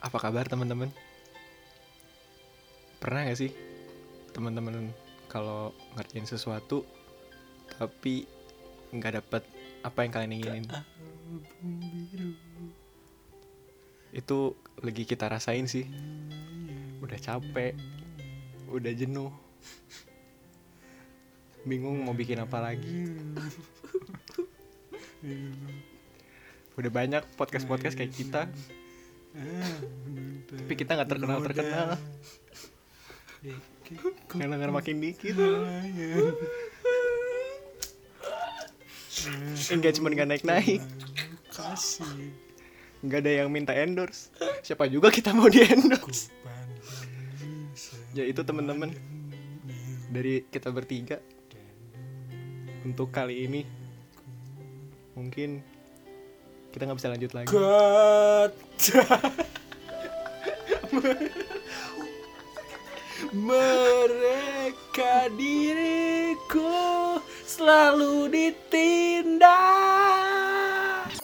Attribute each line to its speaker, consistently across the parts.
Speaker 1: Apa kabar teman-teman? Pernah gak sih teman-teman kalau ngerjain sesuatu tapi nggak dapet apa yang kalian inginin? Itu lagi kita rasain sih. Udah capek, udah jenuh, bingung mau bikin apa lagi. Udah banyak podcast-podcast kayak kita, tapi kita nggak terkenal terkenal. Ngelengar makin dikit Engagement gak naik-naik
Speaker 2: kasih
Speaker 1: Gak ada yang minta endorse Siapa juga kita mau di endorse Ya itu temen-temen Dari kita bertiga Untuk kali ini Mungkin Kita nggak bisa lanjut lagi
Speaker 2: God mereka diriku selalu ditindas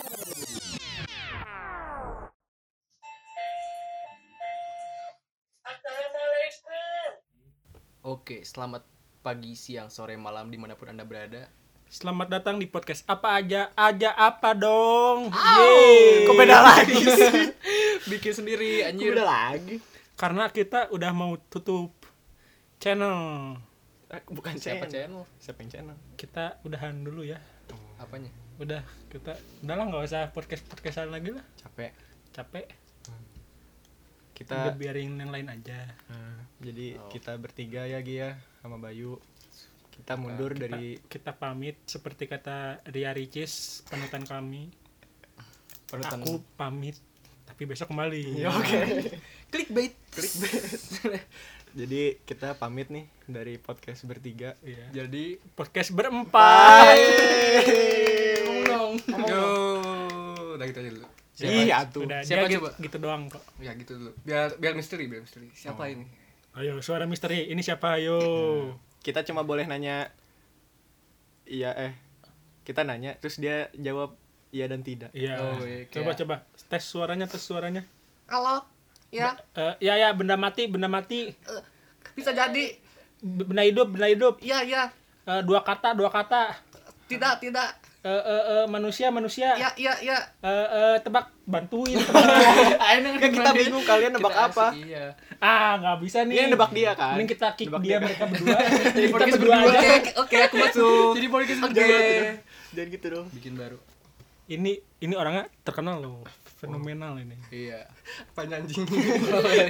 Speaker 3: Oke, selamat pagi, siang, sore, malam dimanapun anda berada.
Speaker 2: Selamat datang di podcast apa aja aja apa dong. Yeay.
Speaker 1: Kok beda lagi sih?
Speaker 3: Bikin sendiri,
Speaker 1: Kok
Speaker 3: anjir.
Speaker 1: beda lagi?
Speaker 2: Karena kita udah mau tutup channel.
Speaker 1: Eh, Bukan
Speaker 3: Siapa
Speaker 1: channel
Speaker 3: channel?
Speaker 1: Siapa yang channel?
Speaker 2: Kita udahan dulu ya.
Speaker 3: Apanya?
Speaker 2: Udah kita udah lah nggak usah podcast podcastan lagi lah.
Speaker 1: Capek
Speaker 2: Capek.
Speaker 1: Kita
Speaker 2: Udah biarin yang lain aja.
Speaker 1: Nah, jadi
Speaker 3: Oh.
Speaker 1: kita bertiga ya Gia sama Bayu. Kita mundur
Speaker 2: Kita-
Speaker 1: dari
Speaker 2: kita pamit seperti kata Ria Ricis penutan kami.
Speaker 3: Penutan.
Speaker 2: Aku pamit tapi besok kembali.
Speaker 1: Ya,
Speaker 3: Iya.
Speaker 1: oke.
Speaker 3: Clickbait.
Speaker 1: jadi kita pamit nih dari podcast bertiga.
Speaker 2: Iya.
Speaker 1: Jadi
Speaker 2: Podcast berempat.
Speaker 3: Ngomong dong.
Speaker 4: Yo, udah gitu aja dulu.
Speaker 1: Ih, atuh.
Speaker 2: Udah,
Speaker 3: Siapa
Speaker 2: dia gitu,
Speaker 3: coba?
Speaker 2: gitu doang kok.
Speaker 4: Ya gitu dulu. Biar biar misteri, biar
Speaker 3: Oh.
Speaker 4: misteri. Siapa ini?
Speaker 2: Ayo suara misteri, ini siapa? Ayo.
Speaker 1: kita cuma boleh nanya iya eh kita nanya terus dia jawab iya dan tidak.
Speaker 2: Iya.
Speaker 3: Oh, iya,
Speaker 2: coba
Speaker 3: kayak-
Speaker 2: coba tes suaranya, tes suaranya.
Speaker 4: Halo. Ya,
Speaker 2: Eh, ya ya benda mati, benda mati.
Speaker 4: bisa jadi.
Speaker 2: B- Benda hidup, benda hidup.
Speaker 4: Ya, ya.
Speaker 2: Eh, dua kata, dua kata.
Speaker 4: Tidak, tidak.
Speaker 2: Eh eh, eh, manusia, manusia.
Speaker 3: Iya.
Speaker 4: Ya, ya, ya.
Speaker 2: Eh eh, tebak bantuin. tebak.
Speaker 1: Kan kita bingung kalian nebak
Speaker 3: Kita
Speaker 1: apa.
Speaker 3: asik, Iya.
Speaker 2: ah, nggak bisa nih.
Speaker 1: Ini nebak dia kan.
Speaker 2: Mending kita kick
Speaker 1: Nebak
Speaker 2: dia mereka berdua.
Speaker 3: Jadi
Speaker 2: kita
Speaker 3: podcast
Speaker 2: berdua
Speaker 3: berdua.
Speaker 2: aja.
Speaker 4: Oke, oke, oke, aku masuk.
Speaker 3: Jadi podcast
Speaker 1: Jangan
Speaker 3: oke.
Speaker 1: gitu dong. Jangan gitu dong.
Speaker 3: Bikin baru.
Speaker 2: Ini ini orangnya terkenal loh. Fenomenal ini.
Speaker 3: Iya.
Speaker 4: Apa anjing?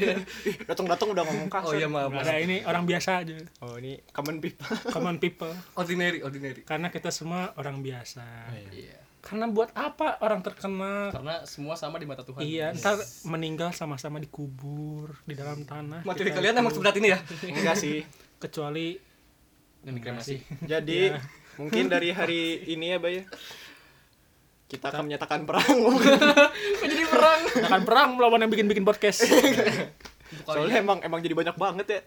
Speaker 1: Datang-datang udah ngomong
Speaker 4: iya. Oh
Speaker 1: kasar.
Speaker 4: iya, maaf.
Speaker 2: Nggak
Speaker 4: maaf.
Speaker 2: ada ini orang biasa aja.
Speaker 1: Oh, ini common people.
Speaker 2: Common people.
Speaker 4: Ordinary, ordinary.
Speaker 2: Karena kita semua orang biasa.
Speaker 3: Iya.
Speaker 2: Karena buat apa orang terkenal?
Speaker 3: Karena semua sama di mata Tuhan.
Speaker 2: Iya, ntar meninggal sama-sama dikubur di dalam tanah.
Speaker 4: Materi
Speaker 2: Kita
Speaker 4: kalian
Speaker 2: itu.
Speaker 4: emang seberat ini ya?
Speaker 1: Enggak sih.
Speaker 2: kecuali
Speaker 3: Dan dikremasi.
Speaker 1: Jadi mungkin dari hari ini ya Bay ya, kita akan menyatakan perang mungkin.
Speaker 3: Jadi perang.
Speaker 2: akan perang melawan yang bikin-bikin podcast.
Speaker 1: Soalnya emang emang jadi banyak banget ya.
Speaker 3: Ya, nggak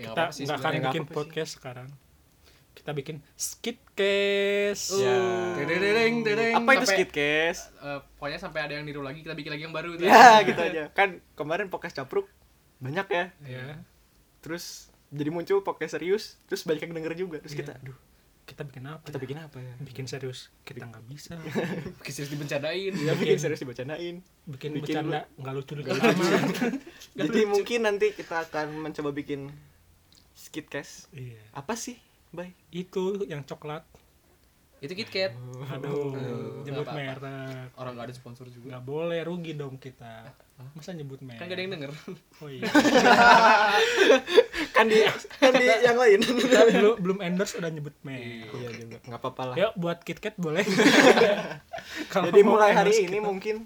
Speaker 2: Kita
Speaker 3: apa-apa sih
Speaker 2: nggak akan
Speaker 3: sebenarnya.
Speaker 1: nggak
Speaker 2: bikin
Speaker 1: apa-apa sih.
Speaker 2: podcast sekarang. Kita bikin skitcast.
Speaker 1: Ya.
Speaker 4: Tereng, tereng.
Speaker 1: Apa itu
Speaker 3: Sampai-
Speaker 1: skitcast?
Speaker 3: Eh, pokoknya sampai ada yang niru lagi kita bikin lagi yang baru tuh.
Speaker 1: Ya gitu aja. Kan kemarin podcast capruk banyak ya.
Speaker 2: Ya.
Speaker 1: Terus jadi muncul podcast serius, terus banyak yang denger juga. Terus kita aduh,
Speaker 2: Iya. Kita bikin apa?
Speaker 1: Iya. kita bikin apa ya?
Speaker 2: bikin serius. Kita nggak bisa.
Speaker 3: Kisir dibencanain.
Speaker 1: Ya bikin serius dibacanain.
Speaker 2: Bikin,
Speaker 1: Bikin
Speaker 2: bercanda nggak lucu-lucu amat.
Speaker 1: Jadi mungkin nanti kita akan mencoba bikin skitcast.
Speaker 2: Iya.
Speaker 1: Apa sih? Bay.
Speaker 2: Itu yang coklat.
Speaker 3: Itu KitKat.
Speaker 1: Oh.
Speaker 2: Aduh, nyebut
Speaker 3: nggak apa-apa.
Speaker 2: merek.
Speaker 3: Orang nggak ada sponsor juga.
Speaker 2: Nggak boleh rugi dong kita. Masa nyebut merek?
Speaker 3: Kan gak ada yang denger.
Speaker 2: Oh iya.
Speaker 1: Kan di kan di yang lain.
Speaker 2: Kita belum belum endorse udah nyebut merek.
Speaker 1: Iya juga. Enggak apa-apa lah.
Speaker 2: Yuk buat KitKat boleh. Kalau
Speaker 1: Jadi
Speaker 2: mau
Speaker 1: mulai
Speaker 2: endorse
Speaker 1: hari ini
Speaker 2: kita-
Speaker 1: mungkin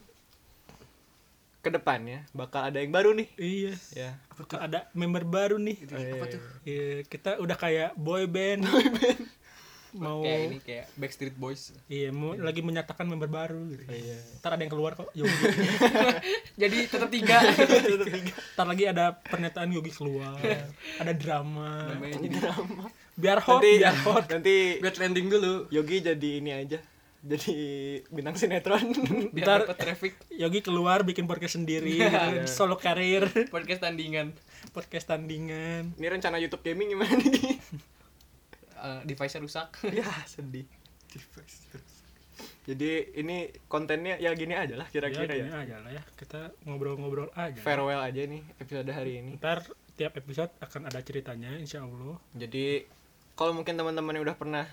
Speaker 1: ke depannya bakal ada yang baru nih.
Speaker 2: Iya.
Speaker 1: Ya.
Speaker 2: Ada member baru nih.
Speaker 1: Apa tuh?
Speaker 2: Iya, kita udah kayak boy band. mau
Speaker 3: Kayak ini kayak Backstreet Boys.
Speaker 2: iya mau lagi menyatakan member baru gitu.
Speaker 1: Iya.
Speaker 2: Ntar ada yang keluar kok Yogi.
Speaker 3: Jadi tetap tiga.
Speaker 2: Ntar lagi ada pernyataan Yogi keluar.
Speaker 1: Iya.
Speaker 2: ada drama.
Speaker 3: Namanya jadi
Speaker 2: Biar hot,
Speaker 1: Nanti
Speaker 2: biar hot.
Speaker 1: nanti
Speaker 4: Biar trending dulu.
Speaker 1: Yogi jadi ini aja. jadi bintang sinetron
Speaker 3: biar
Speaker 2: Ntar-
Speaker 3: dapat traffic
Speaker 2: Yogi keluar bikin podcast sendiri,
Speaker 3: Iya.
Speaker 2: solo karir,
Speaker 3: podcast tandingan
Speaker 2: podcast tandingan.
Speaker 1: ini rencana YouTube gaming gimana nih
Speaker 3: Eh, device-nya rusak
Speaker 1: ya sedih
Speaker 4: Device terus.
Speaker 1: jadi ini kontennya ya gini aja lah kira-kira ya,
Speaker 2: gini aja lah ya. Kita ngobrol-ngobrol aja.
Speaker 1: farewell aja nih episode hari ini
Speaker 2: Ntar tiap episode akan ada ceritanya, insya Allah.
Speaker 1: jadi kalau mungkin teman-teman yang udah pernah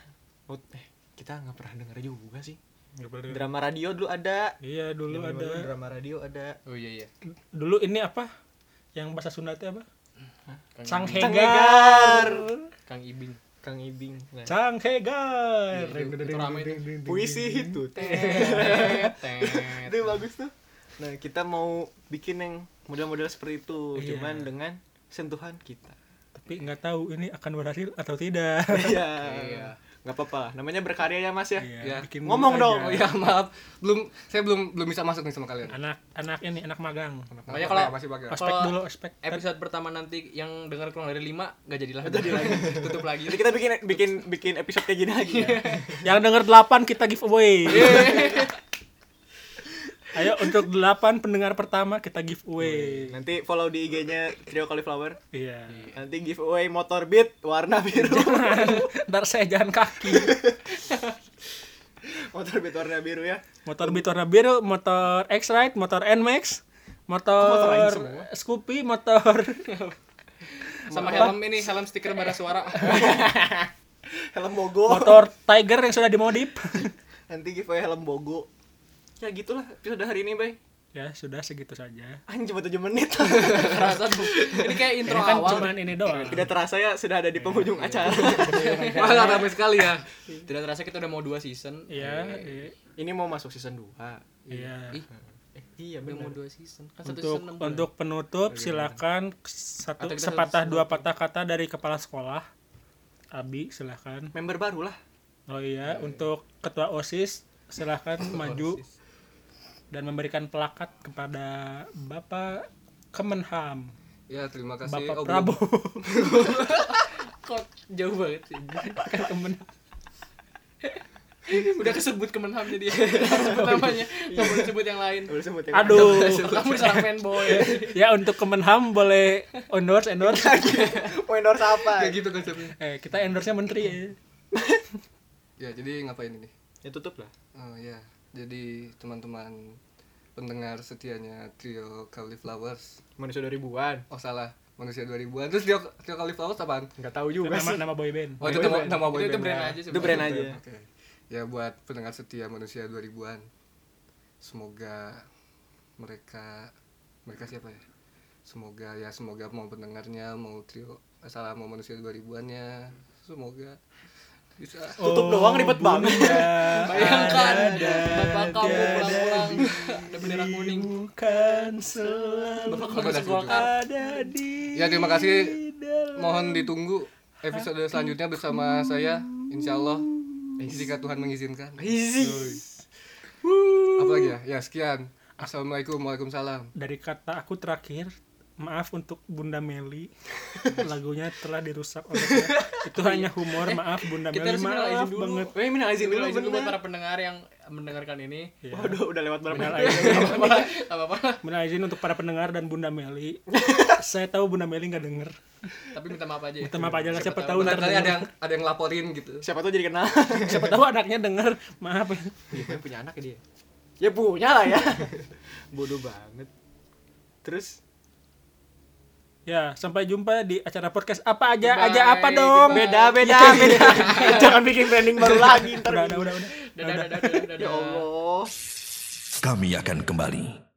Speaker 1: oh, eh, kita nggak pernah denger juga sih
Speaker 2: Nggak boleh-
Speaker 1: drama radio dulu ada
Speaker 2: Iya dulu
Speaker 1: Zaman
Speaker 2: ada.
Speaker 1: drama radio ada
Speaker 3: oh iya iya
Speaker 2: Dulu ini apa? Yang bahasa Sunda teh apa?
Speaker 3: Kang Ibing.
Speaker 2: Canghegar.
Speaker 3: Kang Ibing
Speaker 1: Kang Ibing nah.
Speaker 2: Canghegar.
Speaker 3: Iya, itu- itu rame tuh.
Speaker 1: puisi itu
Speaker 3: Tet,
Speaker 1: itu
Speaker 3: tet.
Speaker 1: bagus tuh nah kita mau bikin yang model-model seperti itu
Speaker 2: Iya.
Speaker 1: cuman dengan sentuhan kita
Speaker 2: Tapi nggak tahu ini akan berhasil atau tidak.
Speaker 3: Iya.
Speaker 1: iya nggak apa-apa lah namanya berkarya ya mas ya
Speaker 2: Iya, bikin
Speaker 1: Ngomong
Speaker 2: mulut
Speaker 1: dong. Iya.
Speaker 2: aja.
Speaker 4: Oh ya maaf, belum saya belum belum bisa masuk nih sama kalian.
Speaker 2: Anak anak ini anak magang.
Speaker 3: Makanya kalau-
Speaker 4: masih pakai.
Speaker 2: Ospek
Speaker 3: Kalau
Speaker 2: dulu ospek.
Speaker 3: ya. episode pertama nanti yang dengar kurang dari 5 nggak jadilah jadi lagi tutup lagi
Speaker 1: jadi kita bikin bikin bikin episode kayak gini lagi
Speaker 2: Iya. Yang denger 8 kita giveaway. Ayo untuk 8 pendengar pertama kita giveaway.
Speaker 1: nanti follow di IG-nya Trio Cauliflower
Speaker 2: Iya.
Speaker 1: nanti giveaway motor beat warna biru
Speaker 2: Ntar saya jalan kaki.
Speaker 1: motor beat warna biru ya
Speaker 2: Motor Beat warna biru, motor X-Ride, motor NMAX,
Speaker 1: motor lain
Speaker 2: motor
Speaker 1: semua?
Speaker 2: Scoopy, motor
Speaker 3: sama helm ini helm stiker bara suara
Speaker 1: helm bogo
Speaker 2: motor Tiger yang sudah dimodif.
Speaker 1: nanti giveaway helm bogo ya gitulah episode hari ini bay
Speaker 2: ya, sudah segitu saja.
Speaker 1: anjing cuma 7 menit
Speaker 3: Kerasa tuh. ini kayak intro
Speaker 2: Ini kan
Speaker 3: awal
Speaker 2: cuman ini doang.
Speaker 1: tidak terasa ya sudah ada di
Speaker 2: Iya,
Speaker 1: penghujung acara
Speaker 4: Wah, ramai sekali ya.
Speaker 3: tidak terasa kita udah mau dua season
Speaker 2: Iya, iya,
Speaker 1: ini mau masuk season 2
Speaker 2: iya.
Speaker 3: Ih,
Speaker 1: iya
Speaker 3: udah mau dua season kan satu
Speaker 2: Untuk
Speaker 3: season enam bulan.
Speaker 2: untuk penutup silakan satu
Speaker 3: Atau kita
Speaker 2: sepatah
Speaker 3: satu-
Speaker 2: dua patah kata dari kepala sekolah. Abi silakan.
Speaker 1: member baru lah
Speaker 2: Oh iya, untuk ketua OSIS silahkan maju dan memberikan pelakat kepada Bapak Kemenham,
Speaker 4: Ya terima kasih.
Speaker 2: Bapak
Speaker 4: Oh, belum.
Speaker 2: Prabowo.
Speaker 3: kok jauh banget sih
Speaker 2: Kan Kemenham.
Speaker 3: udah kesebut kemenham jadi ya. sebut namanya nggak boleh sebut yang lain
Speaker 1: Udah sebut ya.
Speaker 2: Aduh.
Speaker 3: kamu diserang fanboy
Speaker 2: ya untuk Kemenham boleh endorse endorse.
Speaker 1: mau endorse apa
Speaker 4: Kayak gitu konsepnya.
Speaker 2: eh, kita endorse-nya menteri ya.
Speaker 4: Ya jadi ngapain ini?
Speaker 1: ya tutup lah
Speaker 4: Oh ya, jadi teman-teman pendengar setianya trio Cauliflowers.
Speaker 1: manusia 2000-an
Speaker 4: Oh salah, manusia 2000-an. Terus trio, trio Cauliflowers apaan?
Speaker 1: nggak tahu juga
Speaker 2: Nama
Speaker 1: sih
Speaker 2: nama boyband.
Speaker 4: Oh itu
Speaker 1: Boy
Speaker 4: nama,
Speaker 1: band.
Speaker 4: nama
Speaker 3: itu,
Speaker 4: boy
Speaker 3: itu
Speaker 4: band
Speaker 3: brand
Speaker 4: ya.
Speaker 3: aja
Speaker 1: itu brand aja
Speaker 4: Oke. Ya buat pendengar setia manusia 2000-an. Semoga mereka mereka siapa ya? Semoga ya semoga mau pendengarnya mau trio eh, salah mau manusia 2000-annya. Semoga bisa
Speaker 1: Tutup doang, ribet banget.
Speaker 3: bayangkan bapak kamu pulang-pulang ada bendera
Speaker 2: Iya,
Speaker 3: kuning
Speaker 2: Bukan selalu
Speaker 3: bapak kamu
Speaker 4: Bapak
Speaker 3: masuk
Speaker 4: dah
Speaker 3: golkar
Speaker 2: ada di
Speaker 4: Ya terima kasih.
Speaker 2: dalam-
Speaker 4: Mohon ditunggu episode selanjutnya bersama saya Insya Allah jika Tuhan mengizinkan.
Speaker 1: Easy.
Speaker 4: Apa lagi ya? Ya sekian. Assalamualaikum, waalaikumsalam.
Speaker 2: dari kata aku terakhir maaf untuk Bunda Meli lagunya telah dirusak oleh itu hanya humor maaf Bunda
Speaker 3: kita
Speaker 2: Meli
Speaker 3: harus minal
Speaker 2: maaf
Speaker 3: izin dulu
Speaker 2: banget
Speaker 1: Eh, minal
Speaker 3: izin
Speaker 1: izin
Speaker 3: dulu
Speaker 1: dulu,
Speaker 3: izin dulu buat
Speaker 1: bener.
Speaker 3: para pendengar yang mendengarkan ini
Speaker 2: ya.
Speaker 1: Waduh, udah lewat berapa?
Speaker 2: Minal
Speaker 1: menit?
Speaker 2: izin,
Speaker 3: apa apa
Speaker 2: minal izin untuk para pendengar dan Bunda Meli saya tahu Bunda Meli nggak denger
Speaker 3: tapi minta maaf aja ya
Speaker 2: minta maaf aja lah siapa tahu
Speaker 4: Bentar
Speaker 2: ntar
Speaker 4: kali ada
Speaker 2: denger.
Speaker 4: yang ada yang laporin gitu.
Speaker 1: Siapa tuh jadi kenal?
Speaker 2: siapa tahu anaknya denger maaf
Speaker 1: Dia punya anak ya dia. Ya punya lah ya. Bodoh banget. Terus
Speaker 2: ya sampai jumpa di acara podcast apa aja
Speaker 3: Goodbye,
Speaker 2: aja apa dong Ya,
Speaker 3: goodbye.
Speaker 1: beda beda beda. Jangan bikin branding baru lagi ntar.
Speaker 2: udah udah udah, udah.
Speaker 4: Ya
Speaker 3: dadah dadah dadah
Speaker 1: Ya Allah.
Speaker 5: Kami akan kembali.